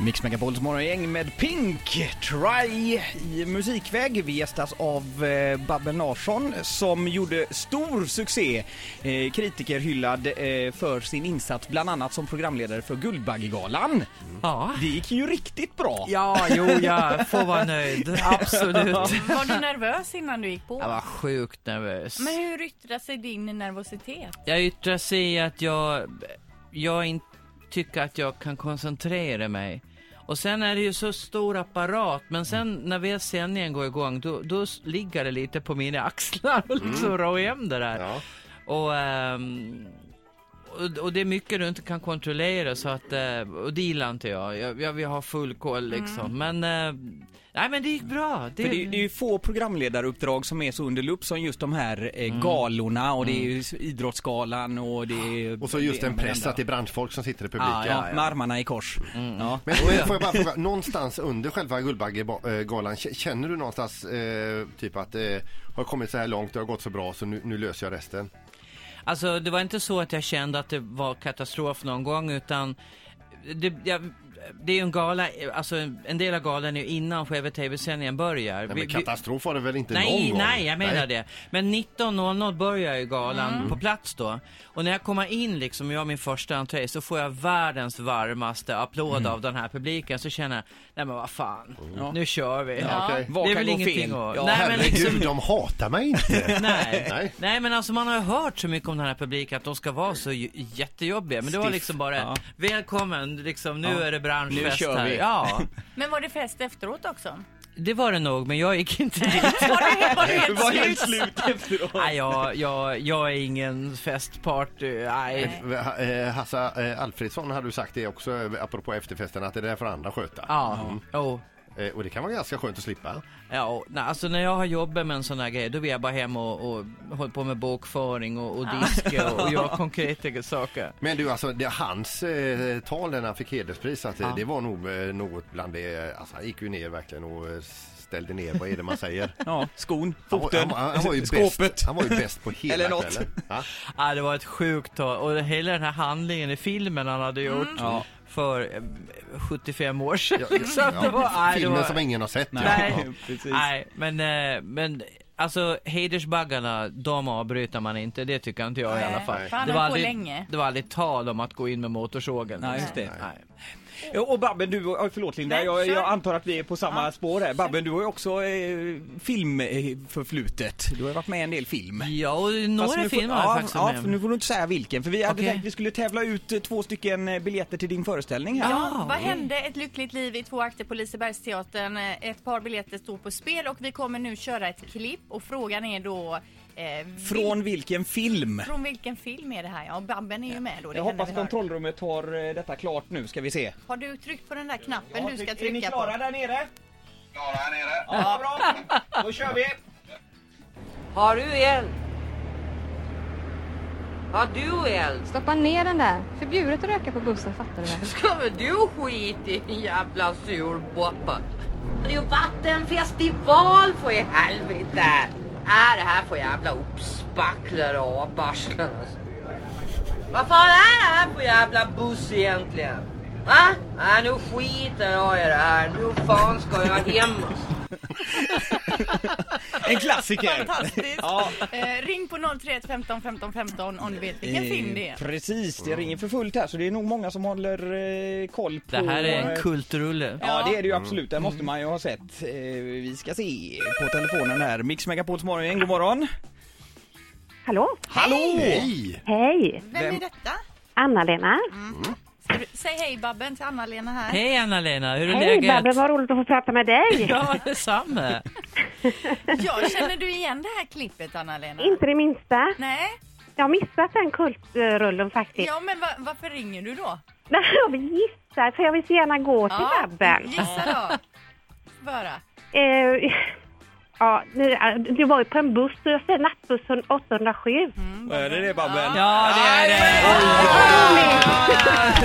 Mix Megapols morgongäng med Pink Try i musikväg. Vi gästas av eh, Babben Larsson som gjorde stor succé. Eh, kritikerhyllad eh, för sin insats bland annat som programledare för Guldbaggegalan. Ja. Det gick ju riktigt bra. Ja, jo, jag får vara nöjd. Absolut. Var du nervös innan du gick på? Jag var sjukt nervös. Men hur yttrar sig din nervositet? Jag yttrar sig i att jag, jag in, tycker att jag kan koncentrera mig. Och sen är det ju så stor apparat, men sen när väl sändningen går igång då, då s- ligger det lite på mina axlar och Mm. liksom rå hem det där. Ja. Och, ehm, och, och det är mycket du inte kan kontrollera så att, eh, och det gillar inte jag. Jag, jag vill ha full koll liksom. Men, eh, nej men det gick bra. Mm. För det, är- det är ju få programledaruppdrag som är så under lupp som just de här eh, galorna och det är ju s- Idrottsgalan och det är... Och så just det är en press andra. att det är branschfolk som sitter i publiken. Ah, Ja, ja, med armarna i kors. Ja. Men får jag bara fråga, någonstans under själva Guldbaggegalan, k- känner du någonstans eh, typ att eh, har kommit så här långt, det har gått så bra så nu, nu löser jag resten? Alltså det var inte så att jag kände att det var katastrof någon gång utan det, jag, det är ju en gala, alltså en en del av galan är ju innan själva tv-sändningen börjar. Nej, Vi- men vi- katastrof var det väl inte någon Nej, gång? nej, jag menar det. Men 19.00 börjar ju galan Mm. på plats då. Och när jag kommer in liksom, jag har min första entré, så får jag världens varmaste applåd Mm. av den här publiken. Så känner jag, nej men vad fan, nu kör vi. okej. Vad Det kan är väl gå ingenting fel? att- Ja, Nej, men Herregud, liksom- de hatar mig inte! Nej. Nej. Nej. men alltså man har ju hört så mycket om den här publiken att de ska vara så j- jättejobbiga. Men det var Stiff. liksom bara, Ja. välkommen, liksom, nu Ja. är det branschfest Nu kör här. vi. Ja, Men var det fest efteråt också? det var det nog, men jag gick inte dit. Var det, var det Det helt var slut? helt slut efteråt. Nej, jag, jag, jag är ingen festparty. Nej. Ha- eh, Hassa eh, Alfredsson hade du sagt det också, eh, apropå efterfesten, att det där får andra sköta. Ja, jo. Eh, Och det kan vara ganska skönt att slippa. Ja, nej, alltså när jag har jobbat med en sån här grej, då vill jag bara hem och, och hålla på med bokföring och, och disk och, och göra konkreta saker. Men du, alltså, det, hans eh, tal när han fick hederspris, att, eh, Ja. det var nog eh, något bland det, alltså, han gick ju ner verkligen och eh, ställde ner, vad är det man säger? Ja, skon, Han var, han, foten, var- han, var ju skåpet. bäst, han var ju bäst på hela Eller något. kvällen. Ja. Ja, det var ett sjukt tal. Och hela den här handlingen i filmen han hade gjort Ja. för eh, 75 år sedan. Ja, ja, så att det var, nej, det Filmen var, som ingen har sett. Nej, Ja. precis. nej men, eh, men alltså hedersbaggarna, de avbryter man inte. Det tycker inte jag i Nej, alla fall. för han det, höll på aldrig, länge. det var aldrig tal om att gå in med motorsågen. Nej, just det. Nej. Ja, Eh, Och Babben, du, ja, förlåt Linda, Nej, jag, kör. jag antar att vi är på samma Ja. spår här. Babben, du har ju också eh, filmförflutet. Du har ju varit med i en del film. Ja, och Fast några nu får- filmer har jag ja, faktiskt ja, med. för nu får du inte säga vilken, för vi hade Okej. tänkt vi skulle tävla ut eh, två stycken eh, biljetter till din föreställning här. Ja, Ah, vad oj. hände? Ett lyckligt liv i två akter på Lisebergsteatern. Eh, Ett par biljetter står på spel och vi kommer nu köra ett klipp och frågan är då eh, vil- Från vilken film? från vilken film är det här? Ja, Babben är ju med då. det Jag henne hoppas vi hör. kontrollrummet har eh, detta klart nu, ska vi se. Har du tryckt på den där knappen du ska är ni trycka klara på? där nere? Klara här nere. Ja, bra. Då kör vi. Har du eld? Har du eld? Stoppa ner den där. Förbjudet att röka på bussen, fattar du väl? Ska väl du skit i din jävla surpåpa? Det är ju vattenfestival för i helvete! Är det här för jävla uppspacklade aparslen alltså? Vad fan är det här för jävla buss egentligen? Va? Nej nu skiter jag i det här. Nu fan ska jag hem alltså. En klassiker. Fantastiskt! Ja. eh, ring på 031 15 15 15 om du vet vilken film det är. Eh, Precis, det ringer för fullt här så det är nog många som håller eh, koll på... Det här är en eh, kultrulle. Ja Mm. det är det ju absolut, det måste man ju ha sett. Eh, Vi ska se på telefonen här. Mix Megapols morgon, god morgon. Hallå? Hallå! Hej! Hej! Vem, Vem- är detta? Anna-Lena. Ska du- Säg hej Babben till Anna-Lena här. Hej Anna-Lena, hur är Hej läget? Babben, vad roligt att få prata med dig! Ja, detsamma. Ja, känner du igen det här klippet Anna-Lena? Inte det minsta. Nej, Jag har missat den kultrullen faktiskt. ja men va, varför ringer du då? Jag vill gissa, för jag vill så gärna gå till Babben. Gissa då. Bara. Eh, ja, nu- det var ju på en buss, så jag säger nattbuss 807. Är det det Babben? Ja, det är det.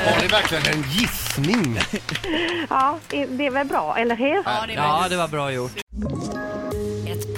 Var det verkligen en gissning? Ja, det- det är väl bra, eller hur? Ja, det var Ja, det var bra gjort. Ett